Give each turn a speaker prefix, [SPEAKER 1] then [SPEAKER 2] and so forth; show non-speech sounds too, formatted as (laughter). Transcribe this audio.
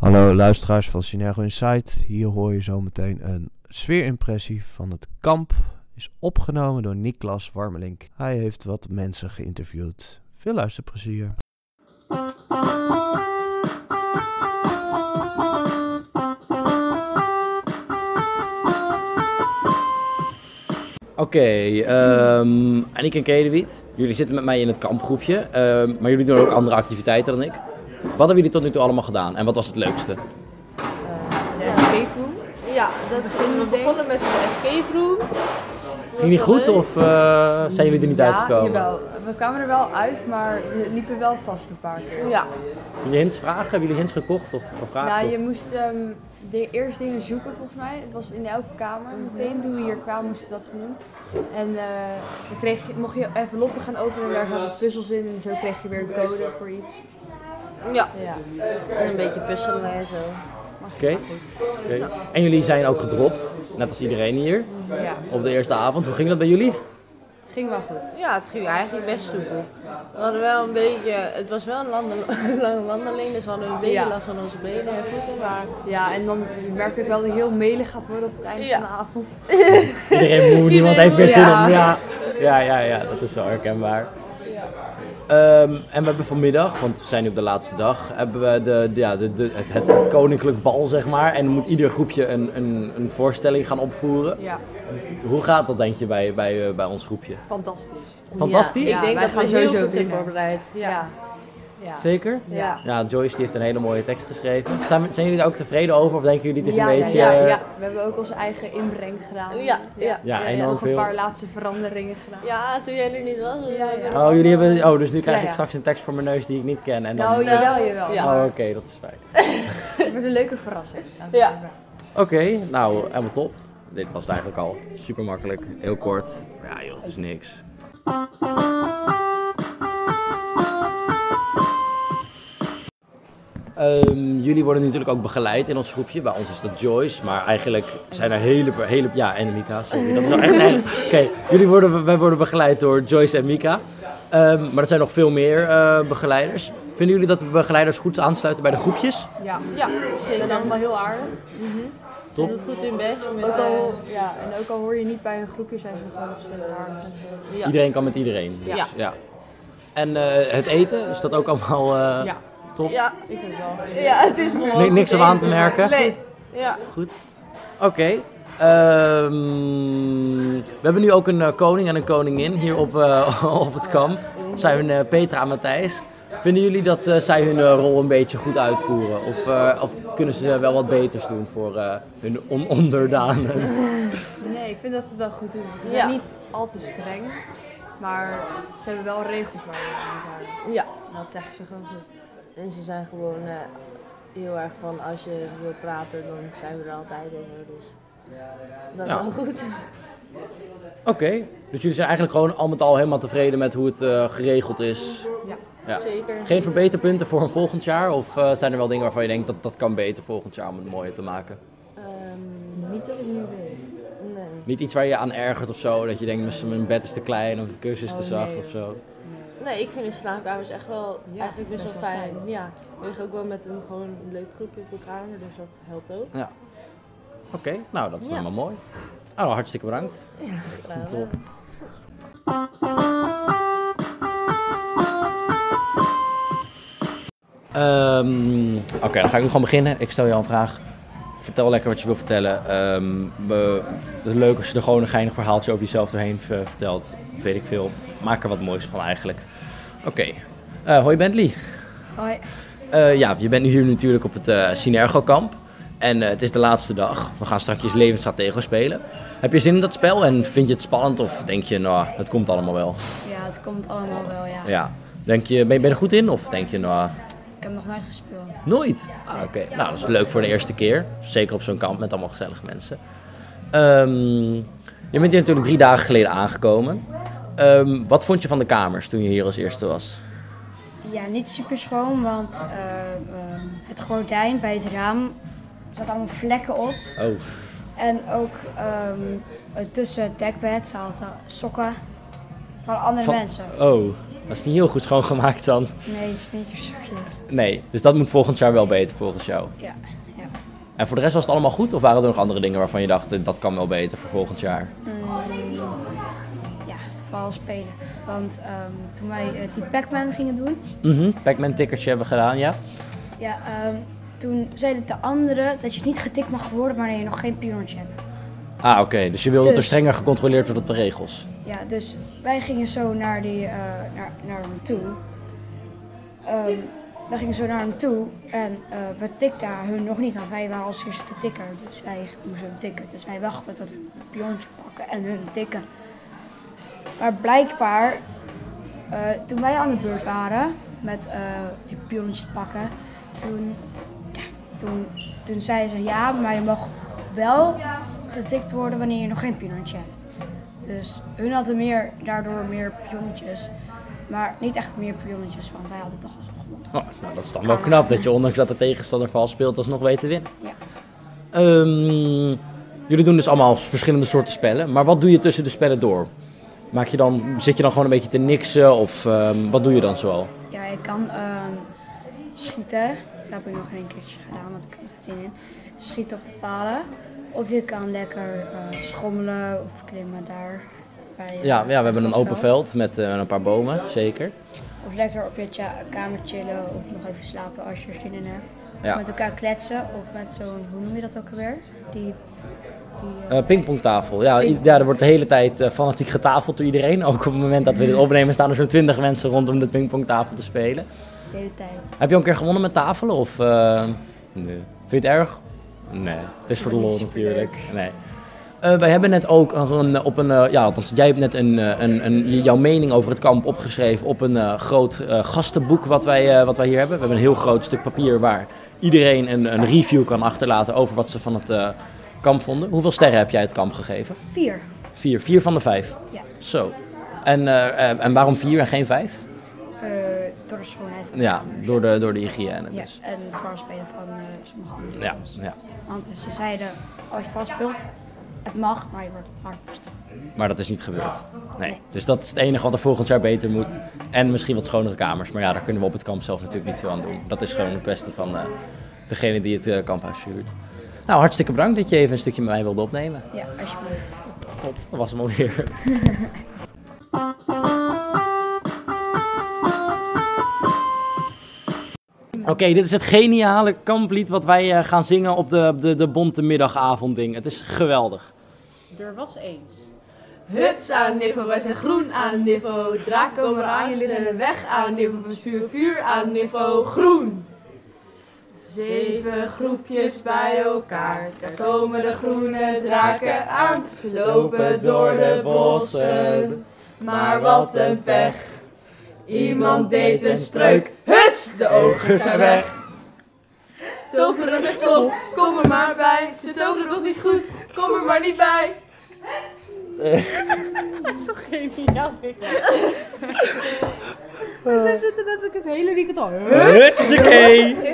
[SPEAKER 1] Hallo luisteraars van Synergo Insight. Hier hoor je zometeen een sfeerimpressie van het kamp. Is opgenomen door Niklas Warmelink. Hij heeft wat mensen geïnterviewd. Veel luisterplezier.
[SPEAKER 2] Oké, ehm Annick en Kedewiet, jullie zitten met mij in het kampgroepje, ehm, maar jullie doen ook andere activiteiten dan ik. Wat hebben jullie tot nu toe allemaal gedaan en wat was het leukste?
[SPEAKER 3] escape room.
[SPEAKER 4] Ja, dat we begonnen met een escape room.
[SPEAKER 2] Ging niet goed of eh, zijn jullie er niet uitgekomen?
[SPEAKER 3] jawel. We kwamen er wel uit, maar we liepen wel vast een paar keer.
[SPEAKER 4] Ja,
[SPEAKER 2] Kunnen jullie hints vragen? Hebben jullie hints gekocht of gevraagd?
[SPEAKER 3] Ja,
[SPEAKER 2] Of-
[SPEAKER 3] je moest ehm, de eerst dingen zoeken volgens mij. Het was in elke kamer. Meteen toen we hier kwamen moesten we dat gaan doen. En eh, dan kreeg je, mocht je even loppen gaan openen en daar zaten puzzels in. En zo kreeg je weer een code voor iets.
[SPEAKER 4] ja.
[SPEAKER 3] Ja.
[SPEAKER 4] En een beetje puzzelen en zo.
[SPEAKER 2] Oké. Oké. En jullie zijn ook gedropt, net als iedereen hier,
[SPEAKER 3] ja,
[SPEAKER 2] op de eerste avond. Hoe ging dat bij jullie?
[SPEAKER 3] ging wel goed.
[SPEAKER 4] Ja, het ging eigenlijk best soepel. We hadden wel een beetje, het was wel (laughs) een lande- lange wandeling, dus we hadden een beetje
[SPEAKER 3] Ja.
[SPEAKER 4] last van onze benen en voeten. Maar
[SPEAKER 3] Ja, en dan je merkt ook wel dat je heel melig gaat worden op het einde
[SPEAKER 4] Ja.
[SPEAKER 3] van de avond.
[SPEAKER 2] Iedereen moe, niemand heeft meer zin
[SPEAKER 3] Ja.
[SPEAKER 2] om. Ja. Ja, ja, ja, dat is wel herkenbaar. Ehm, en we hebben vanmiddag, want we zijn nu op de laatste dag, hebben we de, de- ja, de, de, het, het, het koninklijk bal, zeg maar. En dan moet ieder groepje een, een, een voorstelling gaan opvoeren.
[SPEAKER 3] Ja,
[SPEAKER 2] Hoe gaat dat, denk je, bij, bij, eh, bij ons groepje?
[SPEAKER 3] fantastisch.
[SPEAKER 2] Fantastisch?
[SPEAKER 4] Ja, ik denk
[SPEAKER 3] wij
[SPEAKER 4] dat
[SPEAKER 3] gaan
[SPEAKER 4] we heel
[SPEAKER 3] sowieso
[SPEAKER 4] goed zijn
[SPEAKER 3] winnen.
[SPEAKER 4] voorbereid. Ja.
[SPEAKER 3] Ja. Ja.
[SPEAKER 2] Zeker?
[SPEAKER 3] ja.
[SPEAKER 2] Ja, Joyce die heeft een hele mooie tekst geschreven. Zijn, zijn jullie daar ook tevreden over? Of denken jullie, dit is een beetje...
[SPEAKER 3] ja, ja,
[SPEAKER 2] eh,
[SPEAKER 3] ja. we hebben ook onze eigen inbreng gedaan.
[SPEAKER 4] Ja, ja.
[SPEAKER 2] Ja,
[SPEAKER 4] ja,
[SPEAKER 2] en
[SPEAKER 3] En
[SPEAKER 2] dan-
[SPEAKER 4] ja.
[SPEAKER 3] nog
[SPEAKER 2] veel.
[SPEAKER 3] een paar laatste veranderingen gedaan.
[SPEAKER 4] Ja, toen jij er niet was. dus
[SPEAKER 3] Ja,
[SPEAKER 4] we
[SPEAKER 3] ja.
[SPEAKER 4] hebben-
[SPEAKER 2] Oh, jullie hebben... Oh, dus nu krijg
[SPEAKER 3] Ja,
[SPEAKER 2] ik
[SPEAKER 3] ja.
[SPEAKER 2] straks een tekst voor mijn neus die ik niet ken. En dan...
[SPEAKER 3] Nou, jawel, jawel.
[SPEAKER 4] Ja.
[SPEAKER 3] Ja.
[SPEAKER 2] Oh,
[SPEAKER 3] Maar
[SPEAKER 2] oké, dat is fijn.
[SPEAKER 3] het wordt een leuke verrassing. Dank je
[SPEAKER 4] Ja.
[SPEAKER 3] wel.
[SPEAKER 2] Oké, nou, helemaal top. Dit was het eigenlijk al. Super makkelijk, heel kort. Ja joh, het is niks. Ehm, jullie worden natuurlijk ook begeleid in ons groepje. Bij ons is dat Joyce, maar eigenlijk zijn er hele... hele ja, en Mika, sorry. Dat is wel echt... nee, (laughs) Oké, jullie worden, wij worden begeleid door Joyce en Mika. Ehm, maar er zijn nog veel meer eh, begeleiders. Vinden jullie dat de begeleiders goed aansluiten bij de groepjes?
[SPEAKER 3] Ja,
[SPEAKER 4] Ja,
[SPEAKER 3] we zijn
[SPEAKER 4] zeker.
[SPEAKER 3] allemaal heel aardig.
[SPEAKER 4] Ze doen goed hun best. Met,
[SPEAKER 3] Ook
[SPEAKER 4] eh,
[SPEAKER 3] al, ja, en ook al hoor je niet bij een groepje, zijn ze gewoon nog steeds aardig.
[SPEAKER 4] ja.
[SPEAKER 2] Iedereen kan met iedereen. Dus, ja.
[SPEAKER 4] Ja.
[SPEAKER 2] En eh, het eten, is dat ook allemaal eh,
[SPEAKER 3] Ja.
[SPEAKER 2] top?
[SPEAKER 4] ja,
[SPEAKER 3] Ik vind het wel.
[SPEAKER 4] ja, het is gewoon.
[SPEAKER 2] Ni- niks om aan te merken?
[SPEAKER 4] Nee. Ja.
[SPEAKER 2] Goed. Oké. ehm, we hebben nu ook een eh, koning en een koningin hier op, eh, (laughs) op het kamp. Dat zijn eh, Petra en Matthijs. Vinden jullie dat eh, zij hun eh, rol een beetje goed uitvoeren? Of, eh, of kunnen ze wel wat beters doen voor eh, hun on- onderdanen?
[SPEAKER 3] Nee, ik vind dat ze het wel goed doen. Ze zijn
[SPEAKER 4] Ja.
[SPEAKER 3] niet al te streng, maar ze hebben wel regels waar je aan moet houden.
[SPEAKER 4] Ja.
[SPEAKER 3] En Dat zeggen ze gewoon goed.
[SPEAKER 4] En ze zijn gewoon eh, heel erg van als je wil praten, dan zijn we er altijd en zo. Dus dat
[SPEAKER 2] Ja.
[SPEAKER 4] wel goed.
[SPEAKER 2] Oké. Dus jullie zijn eigenlijk gewoon al met al helemaal tevreden met hoe het eh, geregeld is?
[SPEAKER 3] Ja.
[SPEAKER 2] ja.
[SPEAKER 4] Zeker.
[SPEAKER 2] Geen verbeterpunten voor een volgend jaar? Of eh, zijn er wel dingen waarvan je denkt dat dat kan beter volgend jaar om het mooier te maken?
[SPEAKER 4] Ehm,
[SPEAKER 3] Niet dat ik nu weet.
[SPEAKER 4] nee.
[SPEAKER 2] Niet iets waar je aan ergert of zo? Dat je denkt, "Mis- mijn bed is te klein of het kussen is te
[SPEAKER 3] Oh,
[SPEAKER 2] zacht
[SPEAKER 3] nee,
[SPEAKER 2] of zo?
[SPEAKER 4] nee, ik vind de slaapkamers echt wel
[SPEAKER 3] Ja,
[SPEAKER 4] eigenlijk best,
[SPEAKER 3] best
[SPEAKER 4] wel
[SPEAKER 3] wel
[SPEAKER 4] fijn. Ja. We liggen ook wel met een gewoon een leuk groepje op elkaar, dus dat helpt ook.
[SPEAKER 2] Ja. Oké, nou dat is
[SPEAKER 4] Ja.
[SPEAKER 2] allemaal mooi. Nou, hartstikke bedankt.
[SPEAKER 4] Klaar.
[SPEAKER 2] Top. Ehm, Oké, dan ga ik nu gewoon beginnen. Ik stel jou een vraag. Vertel lekker wat je wil vertellen. Ehm, we- het is leuk als je er gewoon een geinig verhaaltje over jezelf doorheen eh, vertelt. Weet ik veel. Maak er wat moois van eigenlijk. Oké. Eh, hoi Bentley.
[SPEAKER 3] Hoi.
[SPEAKER 2] Eh, ja, je bent nu hier natuurlijk op het eh Synergo-kamp. En eh, het is de laatste dag. We gaan straks levensstratego spelen. Heb je zin in dat spel en vind je het spannend of denk je, nou, het komt allemaal wel?
[SPEAKER 5] Ja, het komt allemaal wel, ja.
[SPEAKER 2] Ja. Denk je, ben je ben je er goed in of denk je, nou,
[SPEAKER 5] Ik heb nog nooit gespeeld.
[SPEAKER 2] nooit? Ah, oké. Nou, dat is leuk voor de eerste keer. Zeker op zo'n kamp met allemaal gezellige mensen. Ehm, je bent hier natuurlijk drie dagen geleden aangekomen. Ehm, wat vond je van de kamers toen je hier als eerste was?
[SPEAKER 5] Ja, niet super schoon, want eh, ehm, het gordijn bij het raam zat allemaal vlekken op.
[SPEAKER 2] Oh,
[SPEAKER 5] En ook ehm, eh, tussen het dekbed zaten sokken van andere
[SPEAKER 2] Van-
[SPEAKER 5] mensen.
[SPEAKER 2] oh. Dat is niet heel goed schoongemaakt dan.
[SPEAKER 5] Nee, sneakerzakjes.
[SPEAKER 2] Nee, dus dat moet volgend jaar wel beter volgens jou.
[SPEAKER 5] Ja, ja.
[SPEAKER 2] En voor de rest was het allemaal goed? Of waren er nog andere dingen waarvan je dacht, eh, dat kan wel beter voor volgend jaar?
[SPEAKER 5] Mm, ja, vooral spelen. Want ehm, toen wij eh, die Pac-Man gingen doen,
[SPEAKER 2] Mhm, Pac-Man tikkertje hebben gedaan, ja.
[SPEAKER 5] ja, ehm, toen zeiden de anderen dat je niet getikt mag worden wanneer je nog geen pionnetje hebt.
[SPEAKER 2] Ah, oké. Dus je wil dat er
[SPEAKER 5] Dus.
[SPEAKER 2] strenger gecontroleerd wordt op de regels.
[SPEAKER 5] Ja, dus wij gingen zo naar, die, eh, naar, naar hem toe. Ehm, wij gingen zo naar hem toe en eh, we tikten hun nog niet, want wij waren als eerste te tikker. Dus wij moesten hem tikken. Dus wij wachten tot hun het pionnetje pakken en hun tikken. Maar blijkbaar, eh, toen wij aan de beurt waren met eh, die pionnetjes te pakken, toen, ja, toen, toen zei ze ja, maar je mag wel getikt worden wanneer je nog geen pionnetje hebt. Dus hun hadden meer, daardoor meer pionnetjes. Maar niet echt meer pionnetjes, want wij hadden toch alsnog gewonnen.
[SPEAKER 2] Oh, nou, dat is dan wel knap dat je ondanks dat de tegenstander vals speelt, alsnog weet te winnen.
[SPEAKER 5] Ja.
[SPEAKER 2] Ehm, jullie doen dus allemaal verschillende soorten spellen, maar wat doe je tussen de spellen door? Maak je dan, zit je dan gewoon een beetje te niksen of ehm, wat doe je dan zoal?
[SPEAKER 5] Ja, ik kan ehm, schieten. Dat heb ik nog een keertje gedaan, want ik heb er geen zin in. Schieten op de palen. Of je kan lekker eh, schommelen of klimmen daar. Bij, eh,
[SPEAKER 2] Ja, ja we hebben een
[SPEAKER 5] grasveld.
[SPEAKER 2] open veld met eh, een paar bomen, zeker.
[SPEAKER 5] Of lekker op je tja- kamer chillen of nog even slapen als je er zin in hebt.
[SPEAKER 2] Ja.
[SPEAKER 5] Met elkaar kletsen of met zo'n, hoe noem je dat ook alweer? Die, die eh,
[SPEAKER 2] Eh pingpongtafel, ja, i- ja, er wordt de hele tijd eh, fanatiek getafeld door iedereen. Ook op het moment dat we dit opnemen staan er zo'n 20 mensen rondom de pingpongtafel te spelen.
[SPEAKER 5] de hele tijd.
[SPEAKER 2] Heb je al een keer gewonnen met tafelen? Of, eh, nee. Vind je het erg? Nee. Het is voor de
[SPEAKER 5] Niet
[SPEAKER 2] lol
[SPEAKER 5] superleuk.
[SPEAKER 2] natuurlijk. Nee. Eh, wij hebben net ook een, een- op een, eh, ja, althans, jij hebt net een, eh, een, een, jouw mening over het kamp opgeschreven op een eh, groot eh, gastenboek wat wij, eh, wat wij hier hebben. We hebben een heel groot stuk papier waar iedereen een, een review kan achterlaten over wat ze van het eh, kamp vonden. Hoeveel sterren heb jij het kamp gegeven?
[SPEAKER 5] Vier.
[SPEAKER 2] Vier. Vier van de vijf?
[SPEAKER 5] Ja.
[SPEAKER 2] Zo. En, eh, eh, en waarom vier en geen vijf?
[SPEAKER 5] eh, door de schoonheid van de
[SPEAKER 2] Ja,
[SPEAKER 5] kamers.
[SPEAKER 2] door de, door de hygiëne
[SPEAKER 5] Ja,
[SPEAKER 2] dus.
[SPEAKER 5] en het vastspelen van eh, sommige andere
[SPEAKER 2] Ja,
[SPEAKER 5] jongens.
[SPEAKER 2] ja.
[SPEAKER 5] Want ze zeiden, als je vastspeelt, het mag, maar je wordt hard bestraft.
[SPEAKER 2] Maar dat is niet
[SPEAKER 3] Oh,
[SPEAKER 2] gebeurd. Nee.
[SPEAKER 5] Nee.
[SPEAKER 2] Dus dat is het enige wat er volgend jaar beter moet. En misschien wat schonere kamers. Maar ja, daar kunnen we op het kamp zelf natuurlijk niet zo aan doen. Dat is gewoon een kwestie van eh, degene die het eh, kamphuis huurt. Nou, hartstikke bedankt dat je even een stukje met mij wilde opnemen.
[SPEAKER 5] Ja, alsjeblieft.
[SPEAKER 2] Top, dat was hem
[SPEAKER 3] (laughs)
[SPEAKER 2] alweer. Oké, dit is het geniale kamplied wat wij eh, gaan zingen op de, de, de bonte middagavondding. Het is geweldig.
[SPEAKER 6] Er was eens.
[SPEAKER 3] Huts aan Niffel, wij zijn groen aan Niffel. Draak komen aan, jullie rennen weg aan Niffel. Verspuur vuur aan Niffel, groen. Zeven groepjes bij elkaar, daar komen de groene draken aan. Ze lopen door de bossen, maar wat een pech. Iemand deed een spreuk, huts, de ogen zijn weg. Toveren met stof, kom er maar bij. Ze toveren nog niet goed, kom er maar niet bij.
[SPEAKER 6] Geniaal, We zitten net het hele weekend al.
[SPEAKER 2] Hutske!